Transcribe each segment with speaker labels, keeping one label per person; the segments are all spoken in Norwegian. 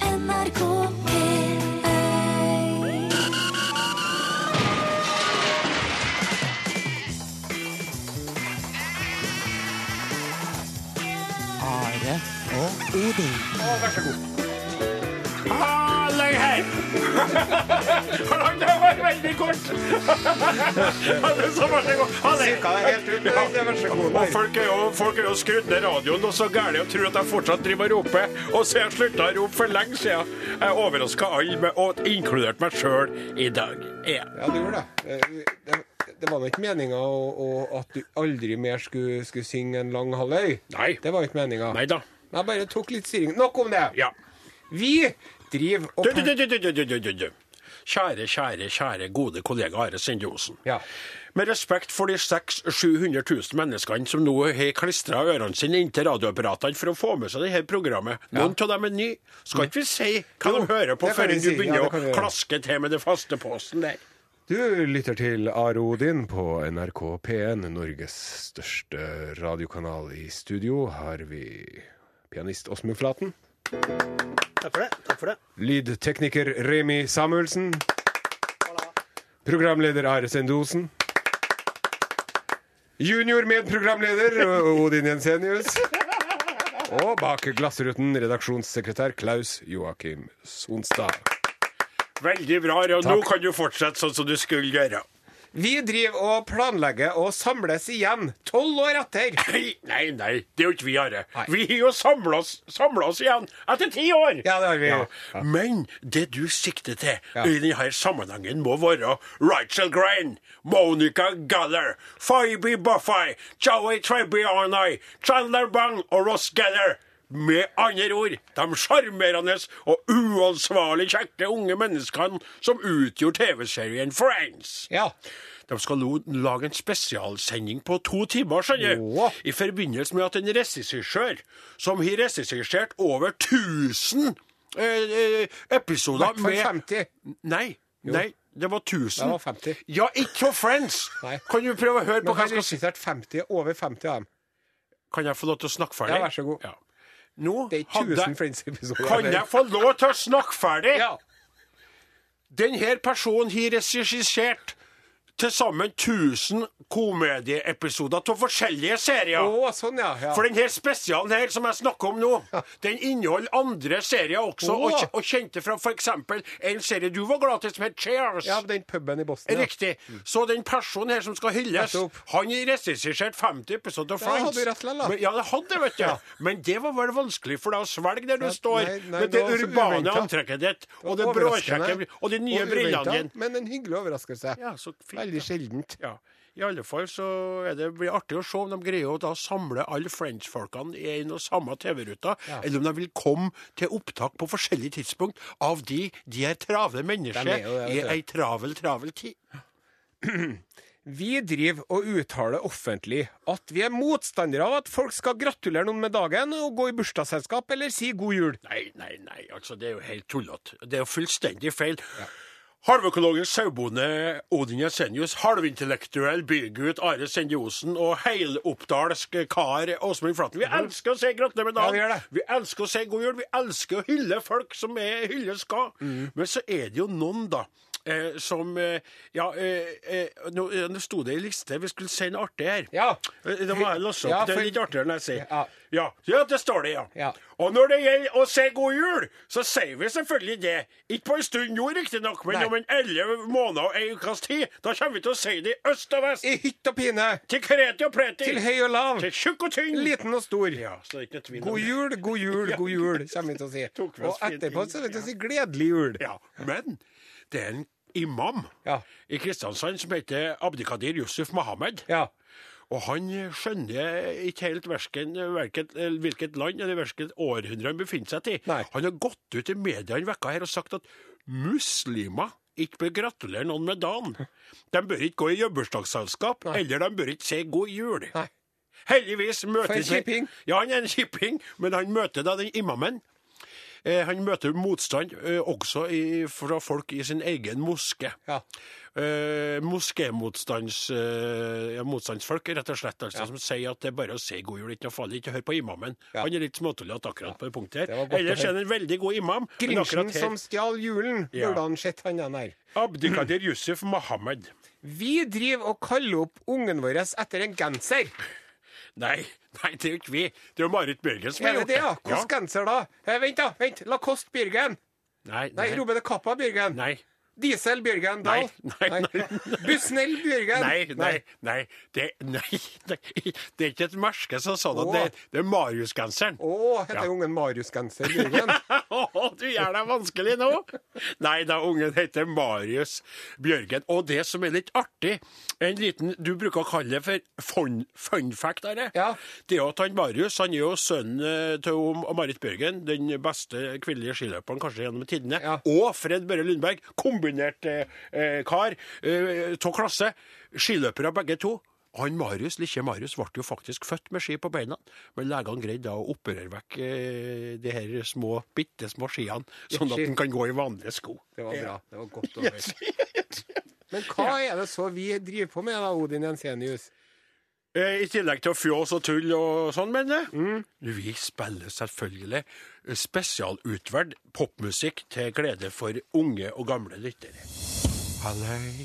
Speaker 1: NRK P1
Speaker 2: Are og Odin.
Speaker 3: Alle her! Han der var veldig kort! Han er så veldig kort. Han er- Og folk er, jo, folk er jo skrudd ned radioen og så gærne og tror at jeg fortsatt driver og roper. Og så har jeg slutta å rope for lenge siden. Jeg overraska alle, med- og inkludert meg sjøl, i dag. Ja.
Speaker 4: Ja, du gjorde det. Eh, Det, det var nå ikke meninga å- å- at du aldri mer skulle, skulle synge en lang halløy.
Speaker 3: Nei.
Speaker 4: Det var ikke meninga.
Speaker 3: Nei da.
Speaker 4: Jeg bare tok litt styring. Nok om det.
Speaker 3: Ja.
Speaker 4: Vi driver og
Speaker 3: Du, du, du, du, du, du, du, du, du. Kjære, kjære, kjære gode kollega Are Sende Osen.
Speaker 4: Ja.
Speaker 3: Med respekt for de 600 000-700 000 menneskene som nå har klistra ørene sine inntil radioapparatene for å få med seg det her programmet. Noen av dem er nye. Skal ikke vi si hva
Speaker 4: Jo,
Speaker 3: de hører på
Speaker 4: det kan
Speaker 3: før
Speaker 4: vi
Speaker 3: du
Speaker 4: si. Ja,
Speaker 3: begynner
Speaker 4: det kan vi
Speaker 3: å
Speaker 4: gjøre.
Speaker 3: klaske til med det faste posten der?
Speaker 4: Du lytter til Arodin på NRK P1, Norges største radiokanal. I studio har vi pianist Åsmund Flaten.
Speaker 5: Takk for det. takk for det.
Speaker 4: Lydtekniker Remi Samuelsen. Programleder Are Sendosen. Junior medprogramleder Ø- Odin Jensenius. Og bak glassruten redaksjonssekretær Klaus Joakim Sonstad.
Speaker 3: Veldig bra, og nå
Speaker 4: Takk.
Speaker 3: kan du fortsette sånn som du skulle gjøre.
Speaker 4: Vi driver og planlegger å samles igjen tolv år etter.
Speaker 3: Nei, nei, nei, det er jo ikke vi, Are.
Speaker 4: Nei.
Speaker 3: Vi har jo samla oss, samlet oss igjen etter ti år.
Speaker 4: Ja, det har vi. Ja.
Speaker 3: Men det du sikter til
Speaker 4: Ja.
Speaker 3: i denne sammenhengen, må være Rachel Graham, Monica Galler, Phoebe Buffay, Joey Tribbiani, Chandler Bang og Ross Geller. Med andre ord, de sjarmerende og uansvarlig kjekke unge menneskene som utgjorde TV-serien Friends.
Speaker 4: Ja.
Speaker 3: De skal nå lage en spesialsending på to timer, skjønner du.
Speaker 4: Åh.
Speaker 3: I forbindelse med at en regissør som har regissert over 1000 eh, eh, episoder
Speaker 4: Hvert fall 50.
Speaker 3: Nei, nei. Det var 1000.
Speaker 4: Det var 50.
Speaker 3: Ja, ikke for Friends!
Speaker 4: Nei.
Speaker 3: Kan du prøve å høre på
Speaker 4: Men
Speaker 3: hva
Speaker 4: han
Speaker 3: jeg skal si?
Speaker 4: regisserte 50, over 50 av dem.
Speaker 3: Kan jeg få lov til å snakke ferdig?
Speaker 4: Ja, vær så god.
Speaker 3: Ja. Nå
Speaker 4: Det er
Speaker 3: hadde-
Speaker 4: 1000 Friends-episoder.
Speaker 3: Kan jeg få lov til å snakke ferdig?
Speaker 4: Ja.
Speaker 3: Denne personen har regissert til sammen 1000 komedieepisoder av forskjellige serier.
Speaker 4: Å, sånn, ja. ja.
Speaker 3: For denne spesialen her som jeg snakker om nå, den inneholder andre serier også,
Speaker 4: Åh.
Speaker 3: og, kj- og kjente fra f.eks. en serie du var glad til, som het Cheers.
Speaker 4: Ja, den puben i Boston. ja. Mm.
Speaker 3: Riktig. Så den personen her som skal hylles,
Speaker 4: Nettopp.
Speaker 3: han har regissert 50 episoder av
Speaker 4: Ja,
Speaker 3: Friends.
Speaker 4: hadde du rett likevel, da.
Speaker 3: Men, ja, det hadde, vet du. Men det var vel vanskelig for deg å svelge der du
Speaker 4: Ja,
Speaker 3: står,
Speaker 4: nei, nei,
Speaker 3: med
Speaker 4: det
Speaker 3: det
Speaker 4: var så
Speaker 3: urbane
Speaker 4: uventet.
Speaker 3: antrekket ditt, og det bråkjekke,
Speaker 4: Overraskende.
Speaker 3: og de nye
Speaker 4: Og uventet,
Speaker 3: brillene dine.
Speaker 4: Men en hyggelig overraskelse.
Speaker 3: Ja, så fint,
Speaker 4: Veldig
Speaker 3: da.
Speaker 4: sjeldent.
Speaker 3: Ja. I alle fall så er det blir artig å se om de greier å da samle alle French-folkene i en og samme TV-ruta, eller om de vil komme til opptak på forskjellig tidspunkt av de de er travle mennesker
Speaker 4: De er jo det,
Speaker 3: i
Speaker 4: vet du.
Speaker 3: ei travel, travel tid.
Speaker 4: Vi driver og uttaler offentlig at vi er motstandere av at folk skal gratulere noen med dagen og gå i bursdagsselskap eller si god jul.
Speaker 3: Nei, nei, nei, altså det er jo helt tullete. Det er jo fullstendig feil. Halvøkologisk sauebonde Odin Jensenius, halvintellektuell bygutt Are Sende Osen og heiloppdalsk kar Åsmund Flaten. Vi elsker å si gratulerer med dagen!
Speaker 4: Mhm. Ja, vi gjør det.
Speaker 3: vi elsker å si god jul! Vi elsker å hylle folk som er hylle skal!
Speaker 4: Mhm.
Speaker 3: Men så er det jo noen, da. Eh, som eh, Ja, eh, eh, nå, eh, nå sto det ei liste. Vi skulle si noe artig her.
Speaker 4: Ja.
Speaker 3: Eh, Det må jeg låse opp.
Speaker 4: Ja,
Speaker 3: Det
Speaker 4: for-
Speaker 3: er litt artigere enn jeg sier.
Speaker 4: Ja.
Speaker 3: Ja, ja det står det, ja.
Speaker 4: Ja.
Speaker 3: Og når det gjelder å si god jul, så sier vi selvfølgelig det. Ikke på en stund nå, riktignok, men
Speaker 4: Nei.
Speaker 3: om en elleve måneder og ei ukes tid. Da kommer vi til å si det i øst og vest.
Speaker 4: I hytt og pine,
Speaker 3: Til kreti og preti.
Speaker 4: til høy og lav,
Speaker 3: Til tjukk og tynn.
Speaker 4: liten og stor.
Speaker 3: Ja, så det er ikke noe tvil om
Speaker 4: God
Speaker 3: det.
Speaker 4: jul, god jul, god jul, kommer vi til å si.
Speaker 3: Tok vi oss
Speaker 4: Og
Speaker 3: fint
Speaker 4: etterpå
Speaker 3: inn,
Speaker 4: så vil vi
Speaker 3: ja.
Speaker 4: si gledelig jul.
Speaker 3: Ja, men det er en imam
Speaker 4: Ja.
Speaker 3: i Kristiansand som heter Abdikadir Yusuf Mohammed.
Speaker 4: Ja.
Speaker 3: Og han skjønner ikke helt hverken, hverken, eh, hvilket land eller hvilket århundre han befinner seg i.
Speaker 4: Nei.
Speaker 3: Han har gått ut i media en uke her og sagt at muslimer ikke bør gratulere noen med dagen. De bør ikke gå i jubileumsdagsselskap, eller de bør ikke si god jul.
Speaker 4: Nei.
Speaker 3: Heldigvis møtes
Speaker 4: For en
Speaker 3: vi-
Speaker 4: kjipping.
Speaker 3: Ja, han er en kjipping, men han møter da den imamen. Eh, han møter motstand eh, også i, fra folk i sin egen moske.
Speaker 4: Ja.
Speaker 3: Eh, Moskémotstandsfolk, eh, ja, motstandsfolk, rett og slett, altså, som sier at det er bare å si god jul, ikke noe farlig, ikke hør på imamen.
Speaker 4: Ja.
Speaker 3: Han er litt småtullete akkurat på det punktet
Speaker 4: Det var
Speaker 3: her.
Speaker 4: godt å
Speaker 3: Ellers
Speaker 4: høre.
Speaker 3: er han en veldig god imam. men
Speaker 4: Grinchen
Speaker 3: akkurat her-
Speaker 4: som stjal julen,
Speaker 3: Ja.
Speaker 4: burde han sett han den her.
Speaker 3: Abdikadir Yusuf Mohammed.
Speaker 4: Vi driver og kaller opp ungen vår etter en genser.
Speaker 3: Nei, nei, det er jo ikke vi. Det er jo Marit Bjørgen som
Speaker 4: Er
Speaker 3: har
Speaker 4: det
Speaker 3: gjort
Speaker 4: det, ja? Hvilken genser da? Eh, vent, da. vent, Lacoste Bjørgen.
Speaker 3: Nei,
Speaker 4: Nei,
Speaker 3: nei,
Speaker 4: Robert Kappa Bjørgen.
Speaker 3: nei,
Speaker 4: Diesel Bjørgen Dahl.
Speaker 3: Nei, nei, nei.
Speaker 4: Busnell Bjørgen.
Speaker 3: nei, nei, nei, det, nei, nei. Det er ikke et merke som sånn at det, det er Marius-genseren.
Speaker 4: Å, heter
Speaker 3: Ja.
Speaker 4: ungen Marius-genser Bjørgen?
Speaker 3: du gjør deg vanskelig nå! Nei da, ungen heter Marius Bjørgen. Og det som er litt artig, en liten Du bruker å kalle det for fun, fun fact, Are.
Speaker 4: Ja.
Speaker 3: Det er jo at han Marius han er jo sønnen eh, til hun- Marit Bjørgen, den beste kvinnelige skiløperen kanskje gjennom tidene.
Speaker 4: Ja.
Speaker 3: Og Fred Børre Lundberg, kombinert eh, eh, kar eh, av klasse. Skiløpere begge to. Han Marius, lille Marius ble jo faktisk født med ski på beina, men legene greide da å operere vekk eh, de her små, bitte små skiene, sånn at
Speaker 4: Ski.
Speaker 3: han kan gå i vanlige sko.
Speaker 4: Det var bra. Det var godt å høre. Men hva er det så vi driver på med da, Odin Jensenius?
Speaker 3: Eh, I tillegg til å fjås og tull og sånn, mener jeg. Vi spiller selvfølgelig spesialutvalgt popmusikk til glede for unge og gamle lyttere. Halløy.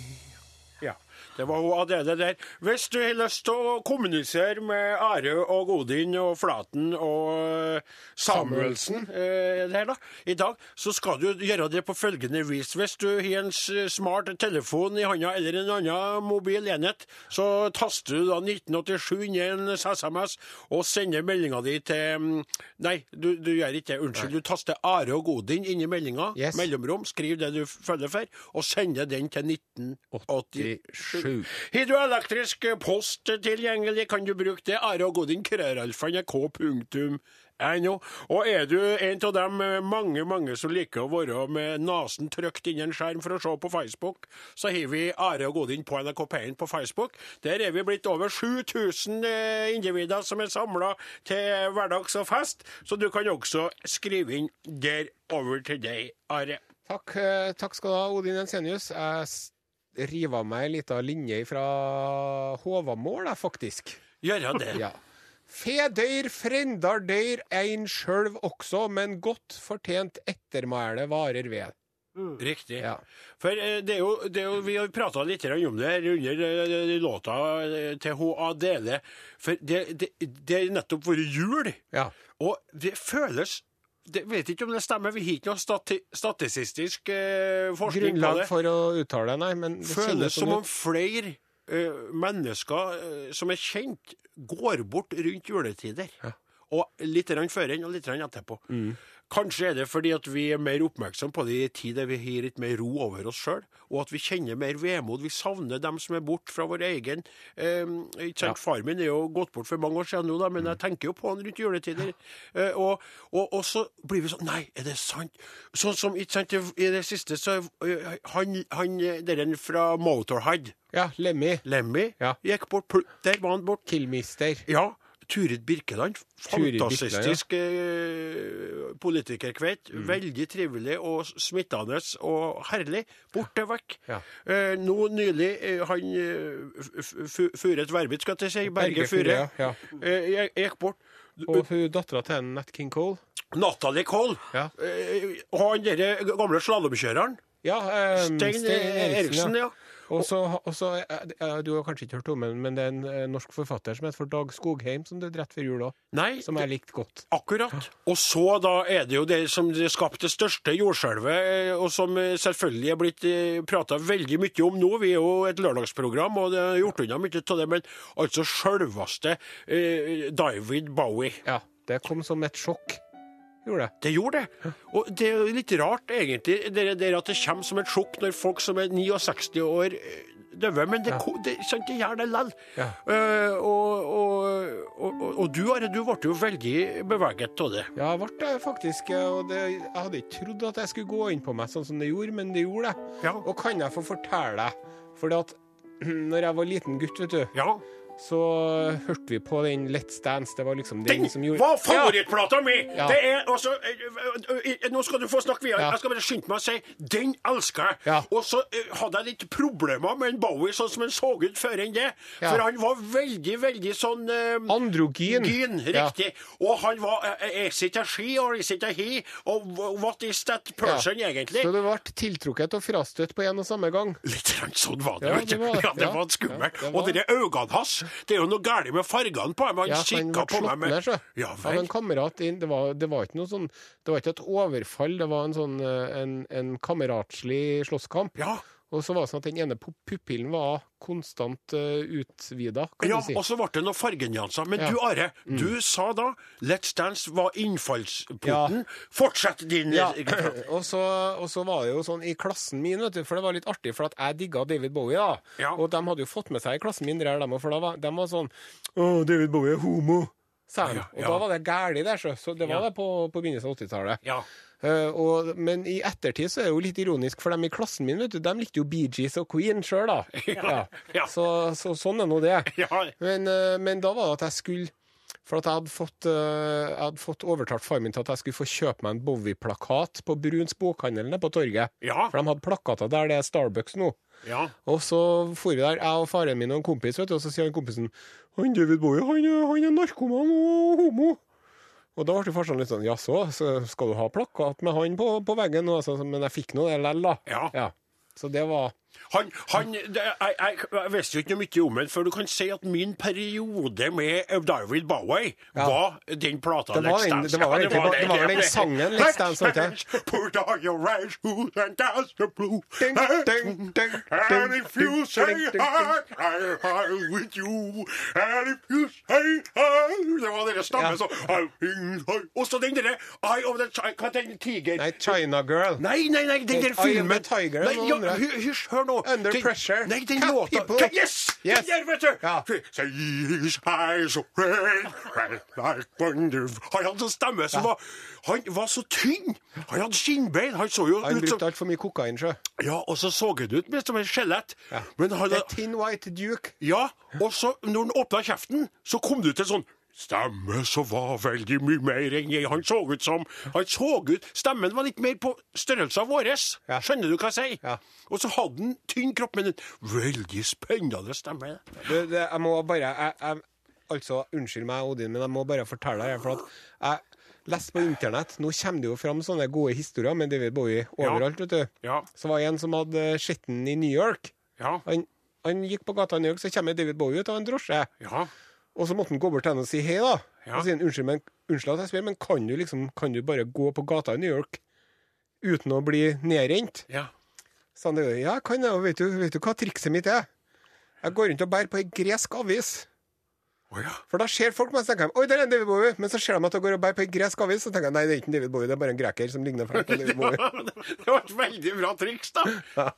Speaker 3: Ja, det var hun Adele der. Hvis du har lyst til å kommunisere med Are og Odin og Flaten og eh, Samuelsen eh, det her da, i dag, så skal du gjøre det på følgende vis. Hvis du har en s- smart telefon i hånda eller en annen mobil enhet, så taster du da 1987 inn i en SMS og sender meldinga di til mm, Nei, du, du gjør ikke det. Unnskyld. Du taster Are og Odin inn i meldinga.
Speaker 4: Yes.
Speaker 3: Mellomrom. Skriv det du følger for, og sender den til 1987.
Speaker 4: 87.
Speaker 3: Har du elektrisk post tilgjengelig, kan du bruke det. Are og Godin, krøralfa.nrk.no. Og er du en av dem eh, mange, mange som liker å være med nesen trykt inn i en skjerm for å se på Facebook, så har vi Are og Godin på NRK P1 på Facebook. Der er vi blitt over 7000 eh, individer som er samla til hverdags og fest, så du kan også skrive inn der over til deg, Are.
Speaker 4: Takk, eh, takk skal du ha, Odin Jensenius. Jeg s- river av meg ei lita linje fra Håvamål, jeg, faktisk.
Speaker 3: Gjøre det.
Speaker 4: Ja. Fe dør, frendar dør, ein sjølv også, men godt fortjent ettermæle varer ved.
Speaker 3: Riktig.
Speaker 4: Ja.
Speaker 3: For eh, det er jo, det er jo, vi har prata litt grann om det her under eh, låta eh, til H.A. Dele. For det, det, det er nettopp vært jul,
Speaker 4: Ja.
Speaker 3: og det føles det, Vet ikke om det stemmer, vi har ikke noe stati, statistisk eh, forskning på
Speaker 4: Grunnlag
Speaker 3: det.
Speaker 4: for å uttale, nei, men det
Speaker 3: føles
Speaker 4: kjennes
Speaker 3: som
Speaker 4: sånn
Speaker 3: om
Speaker 4: ut.
Speaker 3: flere eh, mennesker eh, som er kjent, går bort rundt juletider. Og litt grann før enn og litt grann etterpå. Kanskje er det fordi at vi er mer oppmerksomme på det i en tid der vi har litt mer ro over oss sjøl, og at vi kjenner mer vemod. Vi savner dem som er borte fra vår egen eh, ikke sant? Far min er jo gått bort for mange år siden nå, da, men jeg tenker jo på han rundt juletider. Eh, og, og, og så blir vi sånn Nei, er det sant? Sånn som ikke sant, i det siste, så eh, Han, han eh, deren fra Motorhead,
Speaker 4: Ja, Lemmy.
Speaker 3: Lemmy,
Speaker 4: Ja.
Speaker 3: gikk bort. Pl- Der var han bort.
Speaker 4: Killmister.
Speaker 3: Ja. Turid Birkeland.
Speaker 4: Turid Birkeland,
Speaker 3: Fantastisk eh, politikerkveit.
Speaker 4: Mm.
Speaker 3: Veldig trivelig og smittende og herlig. Borte vekk.
Speaker 4: Ja.
Speaker 3: Eh, nå nylig eh, han eh, F- F- Furet Verbit, skal jeg si. Berge,
Speaker 4: Berge
Speaker 3: Fure.
Speaker 4: Fure, ja,
Speaker 3: Eh, jeg- jeg gikk bort.
Speaker 4: Og hun dattera til en Nat King Cole.
Speaker 3: Natalie Cole.
Speaker 4: Ja.
Speaker 3: Eh, og han derre gamle slalåmkjøreren.
Speaker 4: Ja, eh,
Speaker 3: Stein Eriksen, ja.
Speaker 4: Og så, og så eh, Du har kanskje ikke hørt om den, men det er en eh, norsk forfatter som heter for Dag Skogheim, som døde rett før jul òg,
Speaker 3: Nei,
Speaker 4: som jeg likte godt.
Speaker 3: Akkurat. Og så da er det jo det som skapte det største jordskjelvet, eh, og som eh, selvfølgelig er blitt prata veldig mye om nå. Vi er jo et lørdagsprogram, og det er gjort unna mye av det, men altså sjølveste eh, David Bowie.
Speaker 4: Ja, det kom som et sjokk. Gjorde det.
Speaker 3: Det gjorde det. Og det er jo litt rart, egentlig, det der at det kommer som et sjokk når folk som er 69 år eh, døver, men det, ko- det, sant, det gjør det likevel.
Speaker 4: Ja.
Speaker 3: Eh, og, og, og, og, og du, Are, du ble jo veldig beveget av det.
Speaker 4: Ja, jeg ble det faktisk. eh, Og det, jeg hadde ikke trodd at jeg skulle gå inn på meg sånn som det gjorde, men det gjorde det.
Speaker 3: Ja.
Speaker 4: Og kan jeg få fortelle deg, fordi at når jeg var liten gutt, vet du,
Speaker 3: Ja.
Speaker 4: så hørte vi på den Let's Dance. Det var liksom den,
Speaker 3: Den
Speaker 4: som gjorde
Speaker 3: var favorittplata mi!
Speaker 4: Ja.
Speaker 3: Det er altså eh, eh, eh, Nå skal du få snakke videre.
Speaker 4: Ja.
Speaker 3: Jeg skal bare skynde meg å si den elsker jeg.
Speaker 4: Ja.
Speaker 3: Og så eh, hadde jeg litt problemer med en Bowie sånn som han så ut før enn det.
Speaker 4: Ja.
Speaker 3: For han var veldig, veldig sånn eh,
Speaker 4: Androgyn.
Speaker 3: Gyn,
Speaker 4: Ja.
Speaker 3: riktig. Og han var eh, Is it a she or is it a he? Og wh- what is that person,
Speaker 4: Ja.
Speaker 3: egentlig?
Speaker 4: Så du ble tiltrukket og frastøtt på en og samme gang.
Speaker 3: Litt grann sånn var det,
Speaker 4: Ja,
Speaker 3: vet du.
Speaker 4: det var det.
Speaker 3: Ja, det
Speaker 4: Ja.
Speaker 3: var skummelt.
Speaker 4: Ja, det
Speaker 3: Og
Speaker 4: var-
Speaker 3: de der øynene hans, det er jo noe galt med fargene på dem. Han
Speaker 4: Ja, han ble
Speaker 3: kikka på
Speaker 4: slått
Speaker 3: meg med
Speaker 4: ned, så.
Speaker 3: Ja
Speaker 4: Av
Speaker 3: vel.
Speaker 4: en kamerat inn. Det var, det var ikke noe sånn Det var ikke et overfall, det var en sånn eh, en, en kameratslig slåsskamp.
Speaker 3: Ja.
Speaker 4: Og så var det sånn at den ene pu- pupillen var konstant uh, utvida, kan
Speaker 3: Ja,
Speaker 4: du si.
Speaker 3: og så ble det noen fargenyanser. Men
Speaker 4: Ja. Mm.
Speaker 3: du, Are, du sa da Let's Dance var innfallsporten. Fortsett din
Speaker 4: Ja. Og så, og så var det jo sånn i klassen min, vet du, for det var litt artig, for at jeg digga David Bowie, da.
Speaker 3: Ja.
Speaker 4: Og de hadde jo fått med seg i klassen min, der, dem, for da var, de var sånn Å, David Bowie er homo. Sa de.
Speaker 3: Ja,
Speaker 4: Og
Speaker 3: ja.
Speaker 4: da var det gæli der, så. så det var
Speaker 3: Ja.
Speaker 4: det på, på begynnelsen av 80-tallet.
Speaker 3: Ja.
Speaker 4: Eh, og, men i ettertid så er det jo litt ironisk, for dem i klassen min vet du, de likte jo Bee Gees og Queen sjøl, da. Ja.
Speaker 3: ja.
Speaker 4: Så, så sånn er nå det.
Speaker 3: Ja.
Speaker 4: Men, eh, men da var det at jeg skulle For at jeg hadde fått, eh, jeg hadde fått overtalt faren min til at jeg skulle få kjøpe meg en Bowie-plakat på Bruns bokhandel nede på torget.
Speaker 3: Ja.
Speaker 4: For de hadde plakater der det er Starbucks nå.
Speaker 3: ja.
Speaker 4: Og så for vi der, jeg og faren min og en kompis, vet du, og så sier han kompisen Han David Bowie, han, er- han er narkoman og homo. Og da ble farsan litt sånn Jaså, så skal du ha plakat med han på, på veggen? nå?» Så, men jeg fikk nå det lell, da.
Speaker 3: Ja.
Speaker 4: Så det var
Speaker 3: Han, han det, jeg, jeg, jeg visste jo ikke noe mye om ham før du kan si at min periode med David Bowie var den plata
Speaker 4: Det var
Speaker 3: Let's
Speaker 4: den-
Speaker 3: Dance.
Speaker 4: det var
Speaker 3: Ja,
Speaker 4: egentlig- det var- det var vel den sangen Let's Dance, vet jeg.
Speaker 3: Put on your eyes, shoes and dance the blue.
Speaker 4: Ding, ding, ding,
Speaker 3: And if you
Speaker 4: ding,
Speaker 3: say
Speaker 4: ding, ding,
Speaker 3: hi, I, I with you. And if you say hi Det var dere stammen
Speaker 4: Ja.
Speaker 3: som I think I- Og så den derre Eye of the Tiger Hva heter den? Tiger?
Speaker 4: Nei, China Girl.
Speaker 3: Nei, nei, nei, den der
Speaker 4: Eye of the
Speaker 3: filmen
Speaker 4: Tiger,
Speaker 3: nei,
Speaker 4: noen
Speaker 3: ja,
Speaker 4: andre.
Speaker 3: hy- Hysj, hør nå.
Speaker 4: Under
Speaker 3: Den-
Speaker 4: Pressure.
Speaker 3: Nei, den
Speaker 4: Cat
Speaker 3: låta
Speaker 4: People.
Speaker 3: Ka- Yes!
Speaker 4: Yes.
Speaker 3: Den der, vet du.
Speaker 4: Ja.
Speaker 3: Say his eyes are red, red like wonder. Han hadde en stemme som var Han var så tynn! Han hadde skinnbein. Han så jo
Speaker 4: Han
Speaker 3: ut som
Speaker 4: brukte altfor mye kokain, sjø.
Speaker 3: Ja, og så så han ut mer som en skjelett. Men han
Speaker 4: The Tin White Duke.
Speaker 3: ja, og så når han åpna kjeften, så kom det ut en sånn stemme som var veldig mye mer enn jeg. Han så ut som Han så ut Stemmen var litt mer på størrelsen vår.
Speaker 4: Ja.
Speaker 3: Skjønner du hva jeg sier?
Speaker 4: Ja.
Speaker 3: Og så hadde han tynn kropp, men en veldig spennende stemme.
Speaker 4: Det, det, jeg må bare jeg, jeg, Altså, unnskyld meg, Odin, men jeg må bare fortelle deg For at jeg leste på internett Nå kommer det jo fram sånne gode historier med David Bowie overalt, vet du.
Speaker 3: Ja.
Speaker 4: Så var det en som hadde sett den i New York.
Speaker 3: Ja.
Speaker 4: Han, han gikk på gata i New York, så kommer David Bowie ut av en drosje.
Speaker 3: Ja.
Speaker 4: Og så måtte han gå bort til henne og si hei, da.
Speaker 3: Ja.
Speaker 4: Og så sier han unnskyld, men, unnskyld at jeg spør, men kan du liksom Kan du bare gå på gata i New York uten å bli nedrent?
Speaker 3: Ja.
Speaker 4: Så han Sånn, det, ja, jeg kan det, og vet du, vet du hva trikset mitt er? Jeg går rundt og bærer på ei gresk avis.
Speaker 3: Å ja.
Speaker 4: For da ser folk meg, så tenker de Oi, der er en David Bowie. Men så ser de at jeg går og bærer på en gresk avis, så tenker jeg nei, det er ikke en David Bowie, det er bare en greker som ligner fælt på David Bowie.
Speaker 3: Det var et veldig bra triks, da.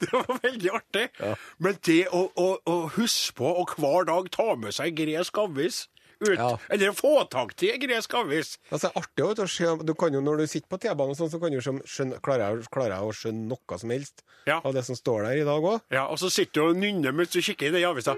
Speaker 3: Det var veldig artig. Men det å, å, å huske på å hver dag ta med seg gresk avis ut,
Speaker 4: Ja.
Speaker 3: eller få tak i en gresk avis
Speaker 4: Altså, det er artig også, å se, du kan jo, Når du sitter på T-banen, og sånn, så kan du jo skjønne, skjønne, klarer, jeg, klarer jeg å skjønne noe som helst
Speaker 3: Ja.
Speaker 4: av det som står der i dag òg?
Speaker 3: Ja, og så sitter du og nynner mens du kikker i den avisa.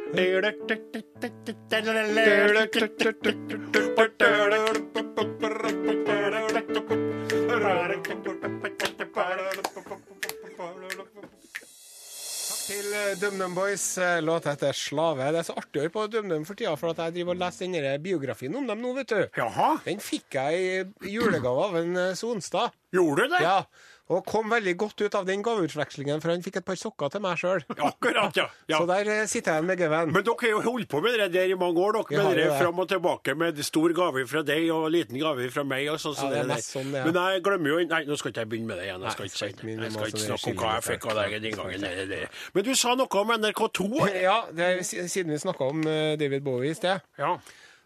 Speaker 4: Til eh, DumDum Boys eh, låt heter 'Slave'. Det er så artig å høre på DumDum for tida, for at jeg driver og leser den der biografien om dem nå, vet du.
Speaker 3: Jaha,
Speaker 4: Den fikk jeg i julegave av en eh, Sonstad.
Speaker 3: gjorde du det?
Speaker 4: Ja, og kom veldig godt ut av den gaveutvekslingen, for han fikk et par sokker til meg sjøl.
Speaker 3: Akkurat, ja. ja.
Speaker 4: Så der eh, sitter jeg med gauen.
Speaker 3: Men dere har jo holdt på med det der i mange år, dere.
Speaker 4: Vi har
Speaker 3: Med
Speaker 4: jo
Speaker 3: det
Speaker 4: det.
Speaker 3: fram og tilbake med stor gave fra deg og liten gave fra meg. Og sånn,
Speaker 4: Ja,
Speaker 3: sånn
Speaker 4: det er
Speaker 3: der.
Speaker 4: mest sånn det er.
Speaker 3: Men jeg glemmer jo Nei, nå skal ikke jeg begynne med det igjen. Jeg skal
Speaker 4: Nei,
Speaker 3: ikke, si
Speaker 4: jeg skal
Speaker 3: det.
Speaker 4: ikke
Speaker 3: Jeg skal
Speaker 4: minne
Speaker 3: ikke
Speaker 4: om
Speaker 3: snakke om
Speaker 4: hva
Speaker 3: hva
Speaker 4: som
Speaker 3: jeg fikk
Speaker 4: er
Speaker 3: av deg den gangen. Det, det. Men du sa noe om NRK2.
Speaker 4: Ja, det er, si- siden vi snakka om eh, David Bowie i sted,
Speaker 3: Ja.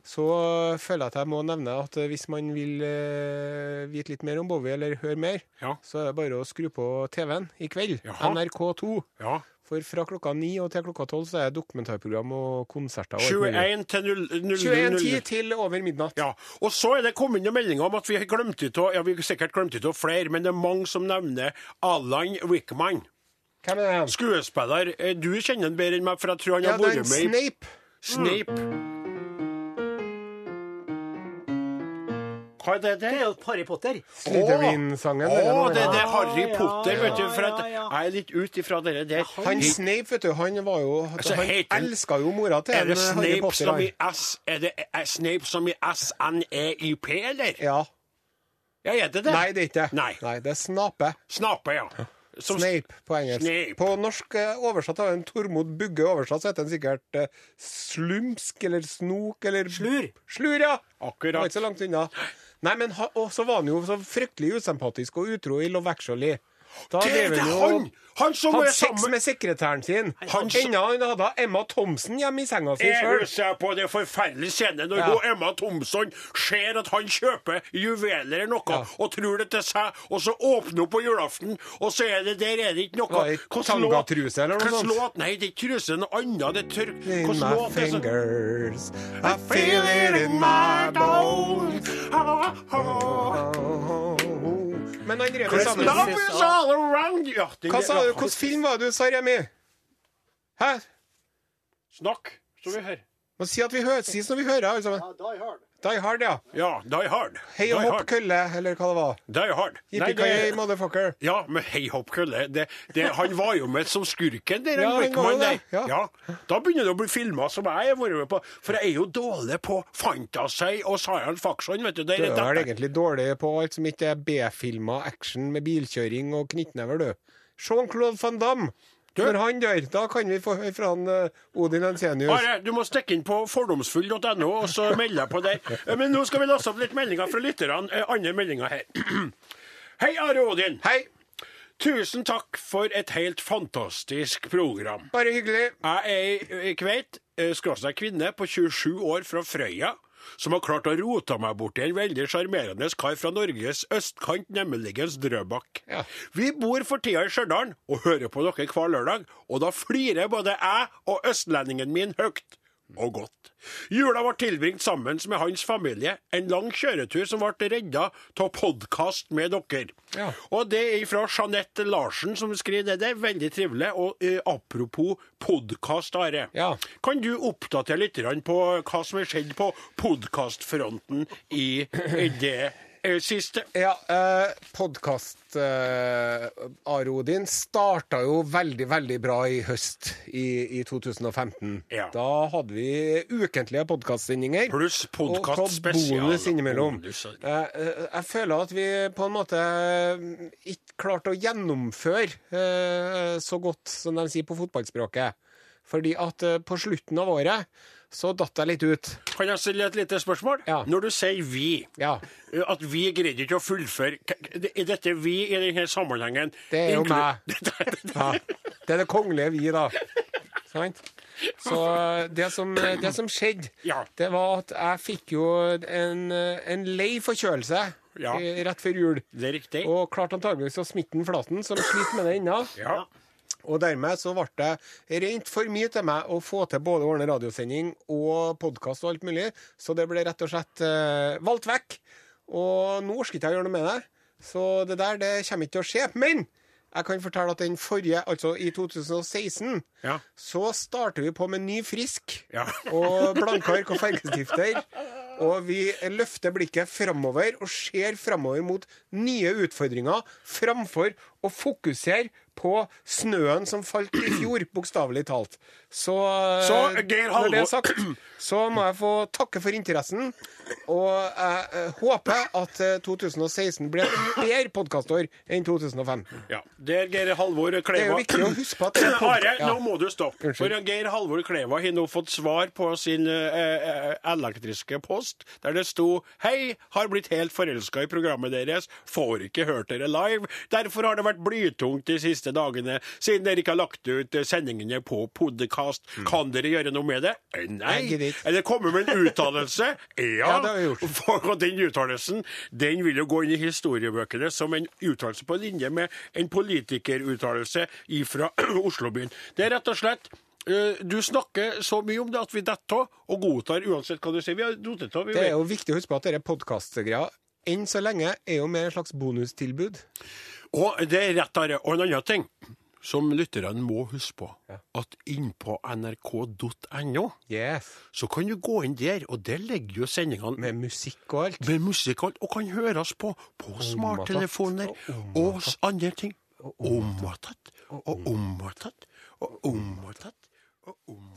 Speaker 4: så føler jeg at jeg må nevne at eh, hvis man vil eh, vite litt mer om Bowie, eller høre mer,
Speaker 3: Ja.
Speaker 4: så er det bare å skru på TV-en i kveld.
Speaker 3: Jaha.
Speaker 4: NRK2.
Speaker 3: ja.
Speaker 4: For fra klokka ni og til klokka tolv så er det dokumentarprogram og konserter. og alt mulig.
Speaker 3: 21 til 0, 0,
Speaker 4: 21.10 til over midnatt.
Speaker 3: Ja, og så er det kommet noen meldinger om at vi har glemt ut av, ja, vi har sikkert glemt ut av flere, men det er mange som nevner Alan Wickman.
Speaker 4: Hvem er det?
Speaker 3: Skuespiller, eh, du kjenner han bedre enn meg, for jeg tror han
Speaker 4: Ja,
Speaker 3: har
Speaker 4: det er
Speaker 3: vært
Speaker 4: en
Speaker 3: med i
Speaker 4: Snape.
Speaker 3: Snape. Hva er det
Speaker 5: Det
Speaker 3: der?
Speaker 5: er jo Harry Potter.
Speaker 4: Slytherin-sangen.
Speaker 3: Å,
Speaker 4: eller noe
Speaker 3: det er det
Speaker 4: annet.
Speaker 3: Harry
Speaker 5: Ja,
Speaker 3: Potter,
Speaker 5: ja,
Speaker 3: vet du. For at
Speaker 5: ja, ja.
Speaker 3: jeg er litt ut ifra dere der.
Speaker 4: Han Snape, vet du, han var jo Han
Speaker 3: heter han-
Speaker 4: elska jo mora til
Speaker 3: Altså, Er det
Speaker 4: en eh, Harry
Speaker 3: Snape
Speaker 4: Potter.
Speaker 3: som i
Speaker 4: han.
Speaker 3: S Er det er Snape som i S-N-E-I-P, eller?
Speaker 4: Ja.
Speaker 3: Ja, er det det?
Speaker 4: Nei, det er ikke det.
Speaker 3: Nei.
Speaker 4: Nei, det er Snape.
Speaker 3: Snape, ja. Som
Speaker 4: Snape på engelsk.
Speaker 3: Snape.
Speaker 4: På norsk eh, oversatt av en Tormod Bugge oversatt, så heter den sikkert eh, slumsk eller snok eller
Speaker 5: Slur.
Speaker 4: Slur, ja! Det
Speaker 3: Akkurat.
Speaker 4: var ikke så langt unna. Nei, men ha, og så var han jo så fryktelig usympatisk og utro i Love Actually. Da
Speaker 3: Det er det
Speaker 4: drev jo-
Speaker 3: han! Han som
Speaker 4: Hadde
Speaker 3: er
Speaker 4: sex
Speaker 3: sammen
Speaker 4: med sekretæren sin.
Speaker 3: Han som-
Speaker 4: Enda han hadde Emma Thomsen hjemme i senga si
Speaker 3: Jeg
Speaker 4: sjøl.
Speaker 3: husker på det forferdelige scenen når
Speaker 4: Ja.
Speaker 3: hun Emma Thomsson ser at han kjøper juveler eller noe,
Speaker 4: Ja.
Speaker 3: og tror det til seg, og så åpner hun på julaften, og så er det der er det ikke noe
Speaker 4: Var det
Speaker 3: Hvordan
Speaker 4: tangatruse eller noe
Speaker 3: hvordan
Speaker 4: sånt?
Speaker 3: låt- Nei, det er ikke truse, det er noe annet. Det er tørk...
Speaker 4: In
Speaker 3: hvordan
Speaker 4: my
Speaker 3: låt er det som-
Speaker 4: fingers, I feel it in my bones. Men han drev jo sammen
Speaker 3: Love is all around you. Ja, det-
Speaker 4: Hva sa du?
Speaker 3: ja.
Speaker 4: Hvilken film var det du sa, Remi? Hæ?
Speaker 3: Snakk, så vi hører.
Speaker 4: Må si at vi hører, si som vi hører, alle sammen. Die Hard, ja.
Speaker 3: Ja, Die Hard.
Speaker 4: Hei og
Speaker 3: Die
Speaker 4: hopp
Speaker 3: Hard.
Speaker 4: kølle, eller hva det var.
Speaker 3: Die Hard. Nei, det-
Speaker 4: Yippee-ki-yay, motherfucker.
Speaker 3: Ja, men hei hopp, kølle. Det, det, han var jo med som skurken der.
Speaker 4: Ja,
Speaker 3: en
Speaker 4: han var
Speaker 3: Wickman
Speaker 4: jo det,
Speaker 3: der.
Speaker 4: ja.
Speaker 3: Da begynner det å bli filma som jeg har vært med på. For jeg er jo dårlig på Fantasy og Science Faction, vet du. Det
Speaker 4: Du
Speaker 3: er
Speaker 4: er vel
Speaker 3: dette.
Speaker 4: egentlig dårlig på alt som ikke er B-filmer, action med bilkjøring og knyttnever, du. Jean-Claude Van Damme. Når han dør, da kan vi få høre fra han, eh, Odin Ensenius.
Speaker 3: Are, du må stikke inn på fordomsfull.no og så melde deg på der. Eh, Men nå skal vi laste opp litt meldinger fra lytterne. Eh, Andre meldinger her. Hei, Are Odin.
Speaker 4: Hei,
Speaker 3: Tusen takk for et helt fantastisk program.
Speaker 4: bare hyggelig.
Speaker 3: Jeg er ei kveit, eh, skråstrek kvinne, på 27 år fra Frøya, som har klart å rote meg borti en veldig sjarmerende kar fra Norges østkant, nemligens Drøbak.
Speaker 4: Ja.
Speaker 3: Vi bor for tida i Stjørdal og hører på dere hver lørdag, og da flirer både jeg og østlendingen min høyt. Og godt. Jula ble tilbringt sammen med hans familie, en lang kjøretur som ble redda av podkast med dere.
Speaker 4: Ja.
Speaker 3: Og det er fra Jeanette Larsen som skriver det. Det er veldig trivelig. Og eh, apropos podkast, Are.
Speaker 4: Ja.
Speaker 3: Kan du oppdatere litt grann på hva som har skjedd på podkastfronten i i det eh, siste?
Speaker 4: Ja, eh, podkast eh, Are Odin starta jo veldig, veldig bra i høst i, i 2015.
Speaker 3: Ja.
Speaker 4: Da hadde vi ukentlige podkastsendinger.
Speaker 3: Pluss podcast
Speaker 4: Og
Speaker 3: spesial.
Speaker 4: bonus innimellom.
Speaker 3: Bonus, ja.
Speaker 4: Eh, eh, jeg føler at vi på en måte eh, ikke klarte å gjennomføre eh, så godt som de sier på fotballspråket. Fordi at eh, på slutten av året så datt jeg litt ut.
Speaker 3: Kan jeg stille et lite spørsmål?
Speaker 4: Ja.
Speaker 3: Når du sier 'vi'
Speaker 4: Ja.
Speaker 3: eh, At vi greide ikke å fullføre K- Er dette vi i denne sammenhengen?
Speaker 4: Det er jo
Speaker 3: inklu-
Speaker 4: meg. Ja. Det er det kongelige vi, da. Sant? Så eh, det som, det som skjedde,
Speaker 3: Ja.
Speaker 4: det var at jeg fikk jo en, eh, en lei forkjølelse
Speaker 3: Ja.
Speaker 4: eh, rett før jul.
Speaker 3: Det er riktig.
Speaker 4: Og klarte antageligvis å smitte den Flaten, som sliter med det ennå.
Speaker 3: Ja.
Speaker 4: Og dermed så ble det rent for mye til meg å få til både å ordne radiosending og podkast og alt mulig, så det ble rett og slett eh, valgt vekk. Og nå orker ikke jeg å gjøre noe med det, så det der det kommer ikke til å skje. Men jeg kan fortelle at den forrige, altså i 2016,
Speaker 3: Ja.
Speaker 4: så starter vi på med ny frisk
Speaker 3: Ja.
Speaker 4: og blanke ark og fargestifter. Og vi løfter blikket framover og ser framover mot nye utfordringer framfor å fokusere på snøen som falt i fjor, bokstavelig talt. Så,
Speaker 3: Så,
Speaker 4: eh,
Speaker 3: Geir
Speaker 4: når det
Speaker 3: Halvor-
Speaker 4: er sagt, så må jeg få takke for interessen. Og jeg eh, håper at eh, 2016 blir et bedre podkastår enn 2005.
Speaker 3: Ja. Der Geir Halvor Kleiva
Speaker 4: Det er jo viktig å huske på at det er podkast-
Speaker 3: Are,
Speaker 4: Ja.
Speaker 3: nå må du stoppe.
Speaker 4: Unnskyld.
Speaker 3: For Geir Halvor Kleiva har nå fått svar på sin eh, eh, elektriske post, der det sto Hei, har blitt helt forelska i programmet deres, får ikke hørt dere live. Derfor har det vært blytungt de siste dagene, siden dere ikke har lagt ut eh, sendingene på podkast. Kan dere gjøre noe med det? Eh, Nei.
Speaker 4: Jeg gidder ikke.
Speaker 3: Eller komme med en uttalelse? Ja.
Speaker 4: Ja, det har vi gjort.
Speaker 3: For og den uttalelsen den vil jo gå inn i historiebøkene som en uttalelse på linje med en politikeruttalelse fra Oslobyen. Det er rett og slett eh, du snakker så mye om det at vi detter av og godtar uansett hva du sier. Vi har dotet av. vi
Speaker 4: Det er
Speaker 3: vet.
Speaker 4: jo viktig å huske på at dette podkastgreia enn så lenge er jo mer en slags bonustilbud.
Speaker 3: Og det er rett, Are. Og en annen ting. som lytterne må huske på, at innpå nrk.no
Speaker 4: Yes.
Speaker 3: så kan du gå inn der, og der ligger jo sendingene
Speaker 4: Med musikk og alt.
Speaker 3: med musikal, og kan høres på på smarttelefoner og s- andre ting. Ommatatt og ommatatt og ommatatt og ommatatt.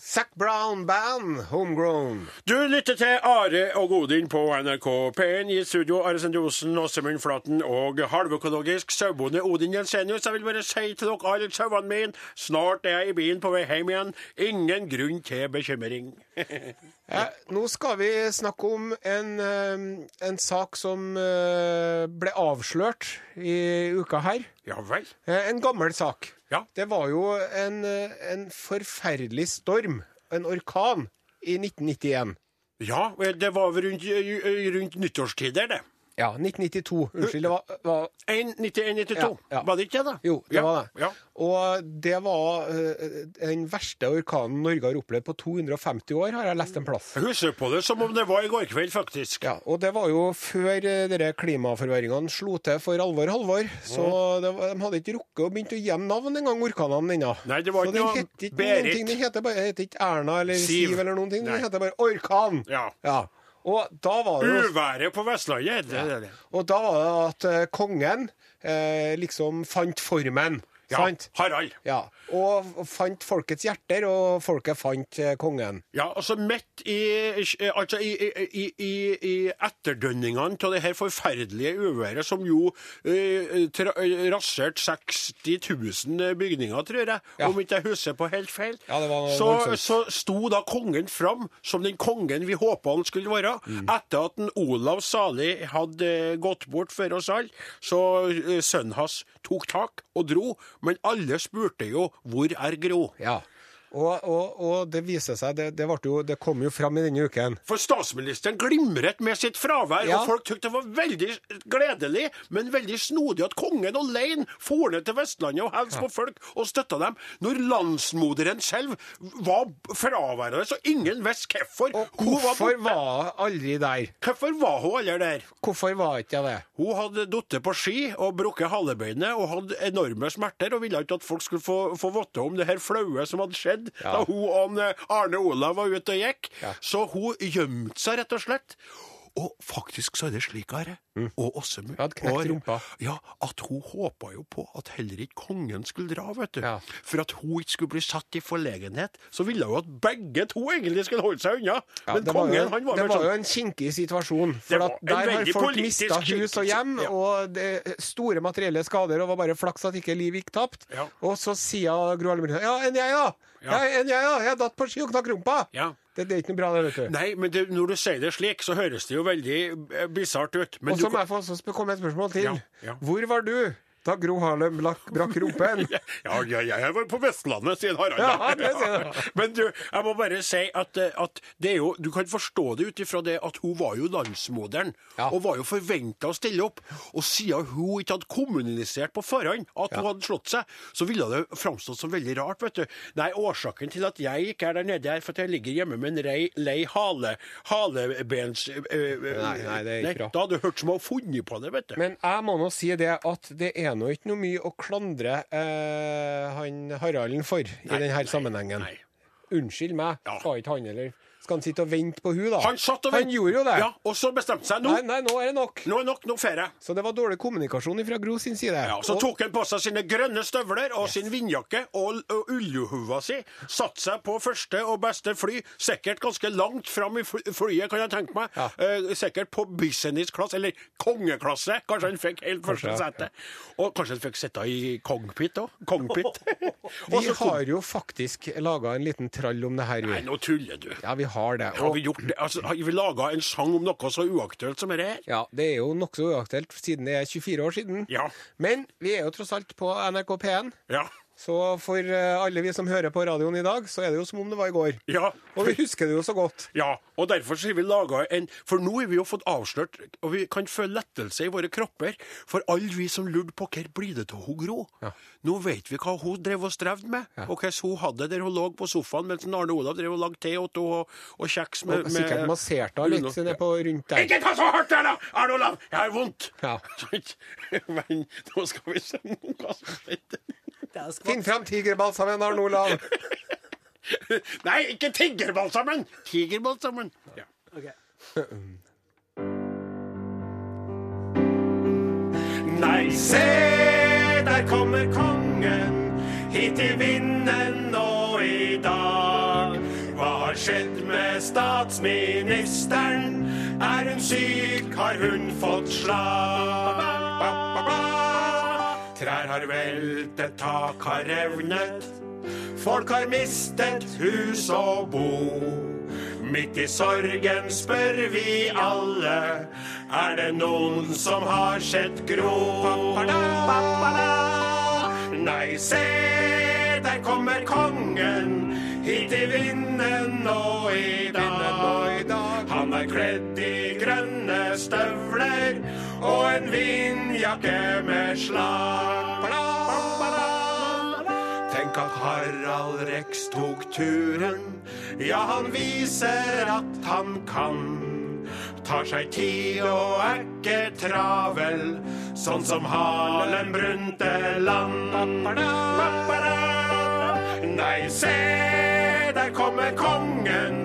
Speaker 4: Zac Brown Band, Homegrown.
Speaker 3: Du lytter til Are og Odin på NRK P1 i studio. Are Sendosen, Åsemund Flaten og halvøkologisk sauebonde Odin Jensenius. Jeg vil bare si til dere alle sauene mine, snart er jeg i bilen på vei hjem igjen. Ingen grunn til bekymring.
Speaker 4: Eh, nå skal vi snakke om en, eh, en sak som eh, ble avslørt i uka her.
Speaker 3: Ja vel.
Speaker 4: Eh, En gammel sak.
Speaker 3: Ja.
Speaker 4: Det var jo en, eh, en forferdelig storm, en orkan, i 1991.
Speaker 3: Ja, det var vel rundt, eh, rundt nyttårstider, det.
Speaker 4: Ja, 1992. Unnskyld, det var, var
Speaker 3: 91-92,
Speaker 4: Ja, ja.
Speaker 3: var det ikke det?
Speaker 4: Jo, det
Speaker 3: ja,
Speaker 4: var det.
Speaker 3: Ja.
Speaker 4: Og det var eh, den verste orkanen Norge har opplevd på 250 år, har jeg lest en plass.
Speaker 3: Jeg husker på det som om det var i går kveld, faktisk.
Speaker 4: Ja, og det var jo før eh, dere klimaforverringene slo til for alvor, halvor. Så det var, de hadde ikke rukket å begynne å gjemme navn engang, orkanene ennå.
Speaker 3: Nei, det var ikke
Speaker 4: så den
Speaker 3: noe
Speaker 4: heter ikke
Speaker 3: Berit.
Speaker 4: noen ting. Den heter bare heter ikke Erna eller
Speaker 3: Siv.
Speaker 4: Siv, eller noen ting.
Speaker 3: Nei.
Speaker 4: Den heter bare Orkan.
Speaker 3: Ja.
Speaker 4: Og da var det jo
Speaker 3: Uværet på Vestlandet. Det, det, det.
Speaker 4: og da var det at eh, kongen eh, liksom fant formen.
Speaker 3: Ja,
Speaker 4: Sant?
Speaker 3: Harald.
Speaker 4: Ja. Og f- fant folkets hjerter, og folket fant eh, kongen.
Speaker 3: Ja, altså midt i, altså i, i, i, i etterdønningene av det her forferdelige uværet som jo eh, tra- raserte 60 000 bygninger, tror jeg,
Speaker 4: Ja.
Speaker 3: om ikke jeg husker på helt feil,
Speaker 4: Ja, det var
Speaker 3: så,
Speaker 4: voldsomt.
Speaker 3: så sto da kongen fram som den kongen vi håpa han skulle være.
Speaker 4: Mm.
Speaker 3: Etter at en Olav Sali hadde eh, gått bort for oss alle, så eh, sønnen hans tok tak og dro, men alle spurte jo 'hvor er Gro'?
Speaker 4: Ja. Og, og, og det viste seg, det, det, ble jo, det kom jo fram i denne uken.
Speaker 3: For statsministeren glimret med sitt fravær,
Speaker 4: Ja.
Speaker 3: og folk tykte det var veldig gledelig, men veldig snodig at kongen alene for ned til Vestlandet og helst på folk og støtta dem, når landsmoderen selv var fraværende, så ingen visste hvorfor.
Speaker 4: Og
Speaker 3: Hun var
Speaker 4: hvorfor
Speaker 3: borte.
Speaker 4: var jeg aldri der?
Speaker 3: hvorfor var hun aldri der?
Speaker 4: Hvorfor var ikke jeg det?
Speaker 3: Hun hadde falt på ski og brukket halebeinet og hadde enorme smerter og ville ikke at folk skulle få, få vite om det her flaue som hadde skjedd da
Speaker 4: Ja.
Speaker 3: hun og han, eh, Arne Olav var ute og gikk.
Speaker 4: Ja.
Speaker 3: Så hun gjemte seg, rett og slett. Og faktisk så er det slik, Are,
Speaker 4: Mm.
Speaker 3: og Åsemund
Speaker 4: Hun hadde knekt
Speaker 3: og-
Speaker 4: rumpa.
Speaker 3: Ja, at hun håpa jo på at heller ikke kongen skulle dra, vet du.
Speaker 4: Ja.
Speaker 3: For at hun ikke skulle bli satt i forlegenhet. Så ville hun at begge to egentlig skulle holde seg unna. Men
Speaker 4: det
Speaker 3: kongen,
Speaker 4: var jo,
Speaker 3: han var
Speaker 4: det
Speaker 3: mer
Speaker 4: var
Speaker 3: sånn
Speaker 4: jo en kinkig situasjon.
Speaker 3: Det
Speaker 4: For
Speaker 3: var
Speaker 4: at
Speaker 3: en
Speaker 4: der har
Speaker 3: veldig
Speaker 4: folk
Speaker 3: politisk
Speaker 4: mista hus og
Speaker 3: kinkig
Speaker 4: hjem,
Speaker 3: situasjon, ja.
Speaker 4: og det, store materielle skader, og var bare flaks at ikke liv gikk tapt.
Speaker 3: Ja.
Speaker 4: Og så sier Gro Harlem Brundtland Ja, enn jeg, ja!
Speaker 3: Ja.
Speaker 4: ja. enn jeg, ja! Jeg datt på ski og knakk rumpa!
Speaker 3: Ja.
Speaker 4: Det, det er ikke noe bra, det, vet du.
Speaker 3: Nei, men det, når du sier det slik, så høres det jo veldig eh, bisart ut. Men
Speaker 4: Og så
Speaker 3: du,
Speaker 4: må jeg få også sp- komme med et spørsmål til.
Speaker 3: Ja, ja.
Speaker 4: Hvor var du da Gro Harlem brakk, brakk rumpen?
Speaker 3: ja, ja, ja, jeg var på Vestlandet, sier Harald.
Speaker 4: Ja, det sier han.
Speaker 3: Men du, jeg må bare si at, eh, at det er jo, du kan forstå det ut ifra det at hun var jo landsmoderen,
Speaker 4: Ja.
Speaker 3: og var jo forventa å stille opp. Og siden hun ikke hadde kommunisert på forhånd at hun hadde slått seg, så ville det framstått som veldig rart, vet du. Nei, årsaken til at jeg ikke er der nede, er for at jeg ligger hjemme med en rei, lei hale, halebens... eh,
Speaker 4: Nei, nei, det er ikke bra.
Speaker 3: Da hadde det hørt som om hun hadde funnet på det, vet du.
Speaker 4: Men jeg må nå si det at det er nå ikke noe mye å klandre eh, han Haralden for i denne her sammenhengen.
Speaker 3: nei.
Speaker 4: Unnskyld meg,
Speaker 3: Ja.
Speaker 4: skal ikke han eller Skal han sitte og vente på hun da?
Speaker 3: Han satt og vent-
Speaker 4: gjorde jo det.
Speaker 3: Ja, og så bestemte seg nå.
Speaker 4: Nei, nei, nå er det nok.
Speaker 3: Nå er nok, nå får jeg.
Speaker 4: Så det var dårlig kommunikasjon fra Gro sin side.
Speaker 3: Ja, så
Speaker 4: Og-
Speaker 3: tok han på seg sine grønne støvler og sin vindjakke og, og ullhua si. Satte seg på første og beste fly, sikkert ganske langt fram i fly- flyet, kan jeg tenke meg.
Speaker 4: Ja.
Speaker 3: Eh, sikkert på businessklasse, eller kongeklasse. Kanskje han fikk helt første
Speaker 4: Kanskje,
Speaker 3: sete. Og kanskje han fikk sitte i kongpit òg. Kongpit. Og
Speaker 4: vi
Speaker 3: så kom-
Speaker 4: har jo faktisk laga en liten trall om det her,
Speaker 3: Nei,
Speaker 4: vi.
Speaker 3: nå tuller du.
Speaker 4: Ja, vi har det.
Speaker 3: Har vi gjort det? Altså, har vi laga en sang om noe så uaktuelt som dette her?
Speaker 4: Ja, det er jo nokså uaktuelt siden det er 24 år siden.
Speaker 3: Ja.
Speaker 4: Men vi er jo tross alt på NRK P1,
Speaker 3: Ja.
Speaker 4: så for eh, alle vi som hører på radioen i dag, så er det jo som om det var i går.
Speaker 3: ja.
Speaker 4: Og vi husker det jo så godt.
Speaker 3: Ja, og derfor så har vi laga en For nå har vi jo fått avslørt, og vi kan føle lettelse i våre kropper, for alle vi som lurte på hva blir det av hun Gro. Nå vet vi hva hun drev og strevde med, og hvordan hun hadde det der hun lå på sofaen mens Arne Olav drev og lagde te og, og, og kjeks med,
Speaker 4: Og
Speaker 3: med
Speaker 4: sikkert masserte henne litt ned på rundt der.
Speaker 3: Ikke ta så hardt der, da! Arne Olav, jeg har vondt!
Speaker 4: Ja.
Speaker 3: Men nå skal vi se noe som skjedde.
Speaker 5: Det er jo skvatt.
Speaker 4: Finn fram tigerbalsamen, Arne Olav!
Speaker 3: Nei, ikke tigerbalsamen! Tigerbalsamen. Ja.
Speaker 5: Ok.
Speaker 3: Nei, se, der kommer kongen hit i vinden nå i dag. Hva har skjedd med statsministeren? Er hun syk, har hun fått slag? Ba, ba, ba. Trær har veltet, tak har revnet. Folk har mistet hus og bo. Midt i sorgen spør vi alle, er det noen som har sett Gro? Nei, se, der kommer kongen hit i vinden nå i dag. Han er kledd i grønne støvler og en vindjakke med slag. Tenk at Harald Rex tok turen. Ja, han viser at han kan. Tar seg tid og er ikke travel, sånn som Harlem Brundtland. Nei, se, der kommer kongen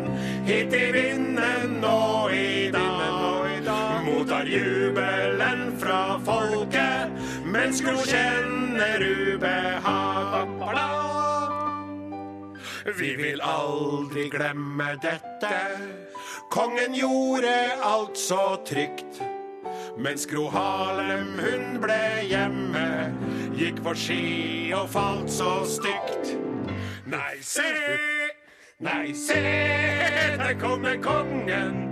Speaker 3: hit i vinden nå i dag. Mottar jubelen fra folket, mens Gro kjenner ubehag. Vi vil aldri glemme dette. Kongen gjorde alt så trygt. Mens Gro Harlem, hun ble hjemme, gikk på ski og falt så stygt. Nei, se, nei, se, der kommer kongen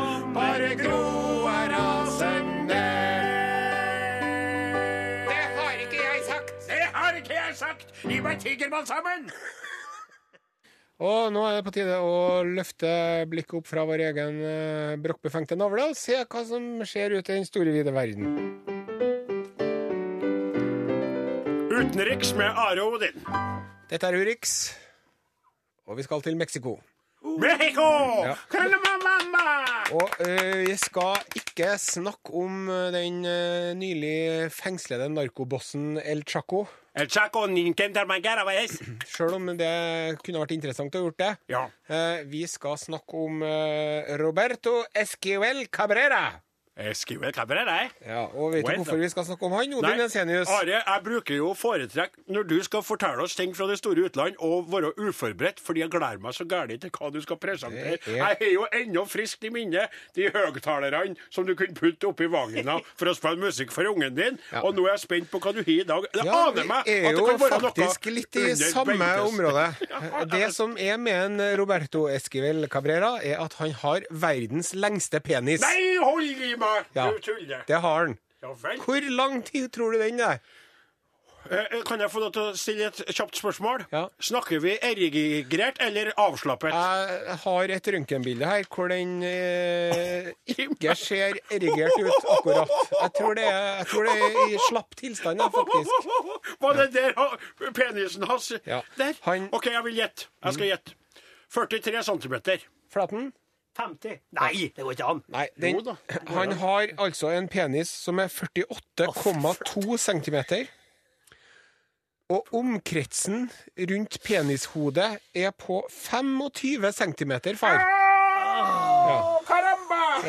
Speaker 3: bare Gro er rasende. Det har ikke jeg sagt. Det har ikke jeg sagt. Gi meg tigerbalsamen.
Speaker 4: Og nå er det på tide å løfte blikket opp fra vår egen eh, brokkbefengte navle og se hva som skjer ute i den store, vide verden.
Speaker 3: Utenriks med Are Odin.
Speaker 4: Dette er Urix, og vi skal til Mexico.
Speaker 3: Oh. Mexico!
Speaker 4: Ja.
Speaker 3: Kalamamama!
Speaker 4: Og eh, jeg skal ikke snakke om eh, den eh, nylig fengslede narkobossen El Chaco,
Speaker 3: El Chaco Nintendermangara, hva er det?
Speaker 4: sjøl om det kunne vært interessant å ha gjort det.
Speaker 3: Ja.
Speaker 4: Eh, Vi skal snakke om eh, Roberto Esquivel Cabrera.
Speaker 3: Skriver kammeret, nei.
Speaker 4: Ja, og vet du
Speaker 3: Well,
Speaker 4: hvorfor
Speaker 3: da.
Speaker 4: vi skal snakke om han, Odin Ensenius?
Speaker 3: Are, jeg bruker jo å foretrekke når du skal fortelle oss ting fra det store utland, og være uforberedt, fordi jeg gleder meg så gærent til hva du skal presentere.
Speaker 4: Det er-
Speaker 3: Jeg har jo ennå friskt i minne de høgtalerne som du kunne putte oppi vagina for å spille musikk for ungen din,
Speaker 4: Ja.
Speaker 3: og nå er jeg spent på hva du har i dag. Jeg
Speaker 4: Ja,
Speaker 3: aner meg
Speaker 4: vi er
Speaker 3: at det
Speaker 4: jo
Speaker 3: kan være noe
Speaker 4: faktisk litt i
Speaker 3: under
Speaker 4: samme
Speaker 3: Bentes.
Speaker 4: område. Det som er med en Roberto Esquivel Cabrera, er at han har verdens lengste penis.
Speaker 3: Nei, hold i meg!
Speaker 4: Ja,
Speaker 3: Du tuller.
Speaker 4: det har han.
Speaker 3: Ja vel.
Speaker 4: Hvor lang tid tror du den er?
Speaker 3: Eh, eh, Kan jeg få lov til å stille et kjapt spørsmål?
Speaker 4: Ja.
Speaker 3: Snakker vi erigrert eller avslappet?
Speaker 4: Jeg har et røntgenbilde her hvor den eh, ikke ser erigert ut akkurat. Jeg tror det er, jeg tror det er i slapp tilstand, ja, faktisk.
Speaker 3: Var det der ha- penisen hans?
Speaker 4: Ja.
Speaker 3: Der?
Speaker 4: Han- Mm.
Speaker 3: OK, jeg vil gjette. Jeg skal gjette. 43 centimeter.
Speaker 4: Flaten?
Speaker 5: 50? Nei, det går ikke an.
Speaker 4: Nei, den,
Speaker 3: Jo da.
Speaker 4: han har altså en penis som er 48,2 cm. Og omkretsen rundt penishodet er på 25 cm, far. Ja. Og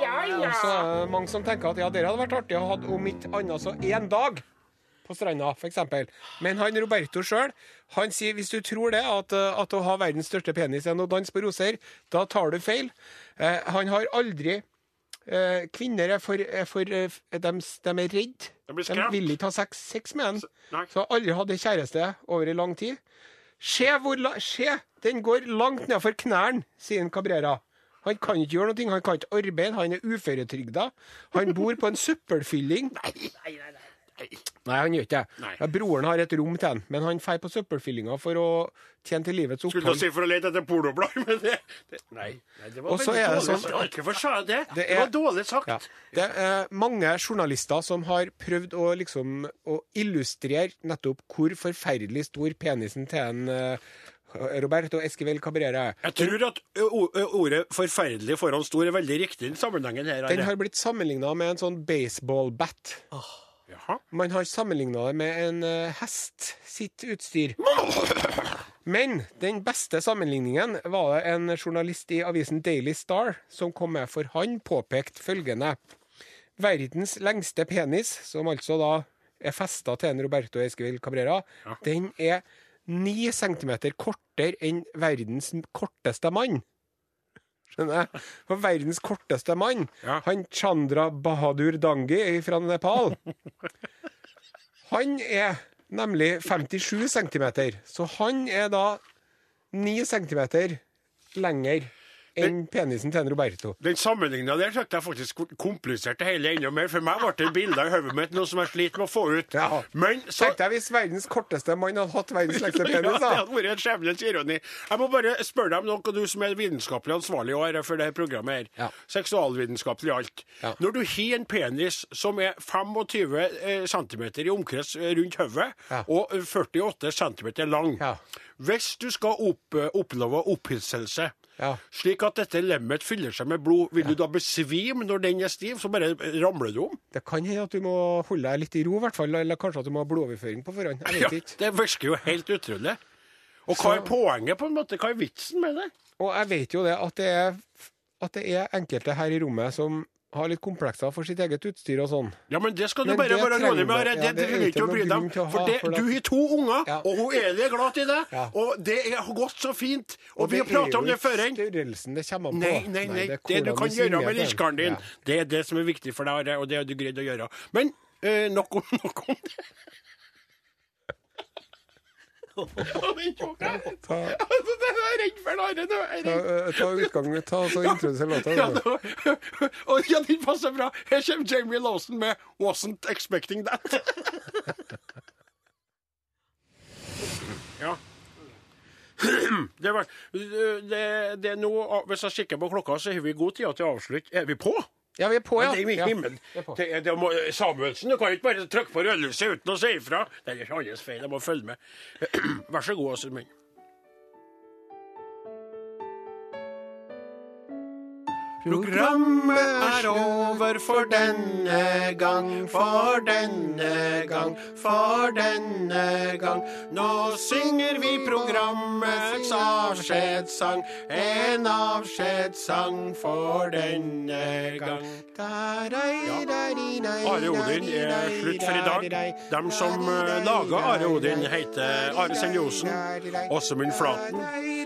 Speaker 4: så er det mange som tenker at ja, det hadde vært artig å ha om ikke annet så én dag på stranda, f.eks. Men han Roberto sjøl han sier hvis du tror det, at, eh, at å ha verdens største penis er noe dans på roser, da tar du feil. Eh, han har aldri eh, Kvinner er for, er for eh, f- de, de er redd.
Speaker 3: De blir skremt.
Speaker 4: vil ikke ha sex, sex med en.
Speaker 3: nei.
Speaker 4: Så har aldri hatt en kjæreste over i lang tid. Se hvor la, Se! Den går langt nedfor knærne, sier en Cabrera. Han kan ikke gjøre noe, han kan ikke arbeide, han er uføretrygda. Han bor på en søppelfylling.
Speaker 5: Nei, nei, nei. Nei.
Speaker 4: Nei, han gjør ikke det.
Speaker 3: Nei.
Speaker 4: Ja, broren har et rom til han, men han drar på søppelfyllinga for å tjene til livets
Speaker 3: Skulle du
Speaker 4: opphold.
Speaker 3: si for å lete etter pornoblad, men det, det Nei.
Speaker 5: Nei, det var
Speaker 4: Og så
Speaker 5: veldig
Speaker 4: er det
Speaker 5: dårlig
Speaker 4: sånn-
Speaker 5: sagt. Hvorfor sa jeg det?
Speaker 4: Det
Speaker 5: Det,
Speaker 4: er-
Speaker 5: var dårlig sagt.
Speaker 4: Ja. Det er mange journalister som har prøvd å, liksom, å illustrere nettopp hvor forferdelig stor penisen til en eh, Roberto Esquivel Cabrera er.
Speaker 3: Jeg tror at ø, o- ø, ordet 'forferdelig' foran stor er veldig riktig i den sammenhengen her.
Speaker 4: Den
Speaker 3: Are.
Speaker 4: har blitt sammenligna med en sånn baseball-bat.
Speaker 3: Jaha.
Speaker 4: Man har sammenligna det med en eh, hest sitt utstyr. Men den beste sammenligningen var det en journalist i avisen Daily Star som kom med, for han påpekte følgende. Verdens lengste penis, som altså da er festa til en Roberto Esquivel Cabrera, den er ni centimeter kortere enn verdens korteste mann. Skjønner jeg? For verdens korteste mann,
Speaker 3: Ja.
Speaker 4: han Chandra Bahadur Dangi fra Nepal han er nemlig 57 cm, så han er da 9 cm lenger enn penisen til en Roberto.
Speaker 3: Den sammenligninga der søkte jeg faktisk ko- kompliserte hele enda mer. For meg ble det bilder i hodet mitt, noe som jeg sliter med å få ut.
Speaker 4: Ja.
Speaker 3: Men så
Speaker 4: Tenkte jeg hvis verdens korteste mann hadde hatt verdens lengste
Speaker 3: Ja,
Speaker 4: penis,
Speaker 3: det
Speaker 4: da.
Speaker 3: hadde vært en skjebnens ironi. Jeg må bare spørre deg om noe, du som er vitenskapelig ansvarlig i år for dette programmet. her.
Speaker 4: Ja.
Speaker 3: Seksualvitenskapelig alt.
Speaker 4: Ja.
Speaker 3: Når du har en penis som er 25 cm i omkrets eh, rundt hodet,
Speaker 4: Ja.
Speaker 3: og 48 cm lang
Speaker 4: Ja.
Speaker 3: Hvis du skal opp, eh, oppleve opphisselse
Speaker 4: Ja.
Speaker 3: Slik at dette lemmet fyller seg med blod. Vil du da besvime når den er stiv? Så bare eh, ramler du om?
Speaker 4: Det kan hende at du må holde deg litt i ro, i hvert fall. Eller kanskje at du må ha blodoverføring på forhånd. Jeg
Speaker 3: Ja,
Speaker 4: vet ikke.
Speaker 3: det virker jo helt utrolig. Og hva er
Speaker 4: Så-
Speaker 3: poenget, på en måte? Hva er vitsen med det?
Speaker 4: Og jeg vet jo det at det er, at det er enkelte her i rommet som har litt komplekser for sitt eget utstyr og sånn.
Speaker 3: Ja, men det skal du
Speaker 4: Men
Speaker 3: bare
Speaker 4: det
Speaker 3: være
Speaker 4: trenger
Speaker 3: rolig med.
Speaker 4: du.
Speaker 3: Are.
Speaker 4: Ja,
Speaker 3: Det
Speaker 4: det er
Speaker 3: trenger du ikke
Speaker 4: ikke
Speaker 3: å
Speaker 4: noe
Speaker 3: bry deg
Speaker 4: grunn til å
Speaker 3: For
Speaker 4: ha,
Speaker 3: det,
Speaker 4: for det-
Speaker 3: du har to unger,
Speaker 4: Ja.
Speaker 3: og hun Eli er glad i deg.
Speaker 4: Ja.
Speaker 3: Og det har gått så fint. Og, vi
Speaker 4: det
Speaker 3: har pratet
Speaker 4: er
Speaker 3: om
Speaker 4: jo
Speaker 3: det før enn.
Speaker 4: Størrelsen det kommer an på.
Speaker 3: Nei, nei, nei.
Speaker 4: er
Speaker 3: Det du
Speaker 4: hvordan
Speaker 3: kan gjøre
Speaker 4: svinger
Speaker 3: med
Speaker 4: den.
Speaker 3: lillekaren
Speaker 4: Ja.
Speaker 3: din, det er det som er viktig for deg, Are, og det har du greid å gjøre. Men eh, nok om nok om det. Ja, den tok jeg.
Speaker 4: Ta-
Speaker 3: Altså, det er jeg redd for, Are. nå er jeg
Speaker 4: Ta,
Speaker 3: redd.
Speaker 4: eh, ta utgang, ta så introduser låta.
Speaker 3: Ja,
Speaker 4: du.
Speaker 3: nå- og ja, den passer bra. Her kommer Jamie Lawson med 'Wasn't Expecting That'. ja. Det, var, det, det er nå, Hvis jeg kikker på klokka, så har vi god tid til å avslutte. Er vi på?
Speaker 4: Ja, vi er på, ja.
Speaker 3: Det er jo
Speaker 4: ja.
Speaker 3: himmel. Det er, det må, Samuelsen, du kan jo ikke bare trykke på rødlyset uten å si ifra. Det er alles feil, jeg må følge med. Vær så god, Åsmund. Programmet er over for denne gang, for denne gang, for denne gang. Nå synger vi programmets avskjedssang, en avskjedssang for denne gang. Are Odin er slutt for i dag. De som eh, lager Are Odin, heter Are Senjosen, Åsemund Flaten,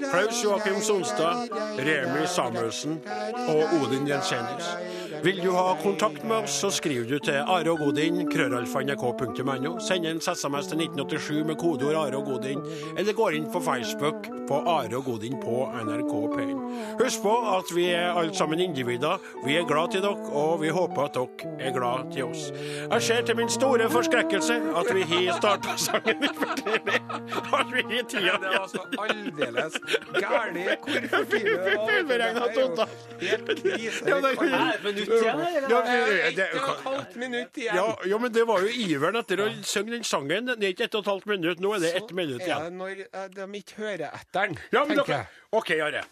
Speaker 3: Klaus Joakim Sonstad, Remi Samuelsen og Odin Jensenius. Vil du ha kontakt med oss, så skriver du til areogodin.krøllalfa.nrk.no. Send en SMS til 1987 med kodeord Are og Godin, eller går inn på Facebook på Are og Godin på NRK P1. Husk på at vi er alle sammen individer. Vi er glad til dere, og vi håper at dere er glad til oss. Jeg ser til min store forskrekkelse at vi har starta sangen litt for tidlig. At vi har tida
Speaker 4: Det er altså aldeles gærlig. Hvor fine det var.
Speaker 3: Fullberegna totalt.
Speaker 4: Helt krise.
Speaker 3: Ja, det er-
Speaker 5: Er det et minutt igjen, eller?
Speaker 3: Ja,
Speaker 4: Det er
Speaker 3: det-
Speaker 4: Ett og et halvt minutt igjen.
Speaker 3: Ja, ja, men det var jo iveren etter å synge den sangen. Det er ikke ett og et halvt minutt, nå er det ett minutt
Speaker 4: Er
Speaker 3: igjen.
Speaker 4: det når eh, de ikke hører etter den,
Speaker 3: Ja, men
Speaker 4: tenker
Speaker 3: dere,
Speaker 4: jeg.
Speaker 3: OK, Are.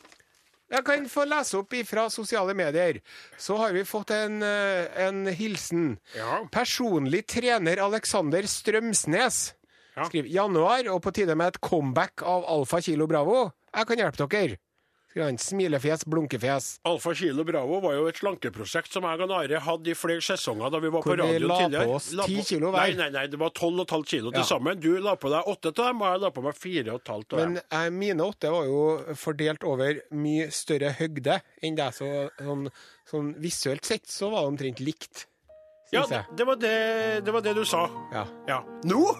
Speaker 4: Jeg kan få lese opp ifra sosiale medier. Så har vi fått en, eh, en hilsen.
Speaker 3: Ja.
Speaker 4: Personlig trener Alexander Strømsnes
Speaker 3: Ja.
Speaker 4: skriver januar, og på tide med et comeback av Alfa Kilo Bravo. Jeg kan hjelpe dere. Skriver han. Smilefjes, blunkefjes.
Speaker 3: Alfa Kilo Bravo var jo et slankeprosjekt som jeg og Are hadde i flere sesonger da vi var
Speaker 4: Hvor
Speaker 3: på
Speaker 4: vi
Speaker 3: radio
Speaker 4: la på
Speaker 3: tidligere.
Speaker 4: oss 10 kilo hver.
Speaker 3: Nei, nei, nei, det var 12,5 kilo til
Speaker 4: Ja.
Speaker 3: sammen. Du la på deg åtte av dem, og jeg la på meg fire og et halvt av dem.
Speaker 4: Men eh, mine åtte var jo fordelt over mye større høgde enn deg, så sånn, sånn visuelt sett så var det omtrent likt,
Speaker 3: Ja,
Speaker 4: syns jeg.
Speaker 3: det var det, det var det du sa.
Speaker 4: Ja.
Speaker 3: Ja. Nå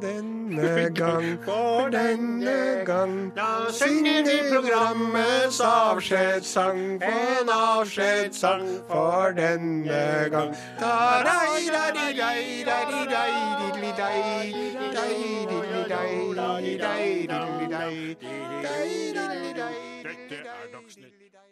Speaker 4: Denne gang,
Speaker 3: For
Speaker 4: denne gang
Speaker 3: Da
Speaker 4: synger vi programmets avskjedssang. En avskjedssang for denne gang. Dette
Speaker 3: Dette er Dagsnytt.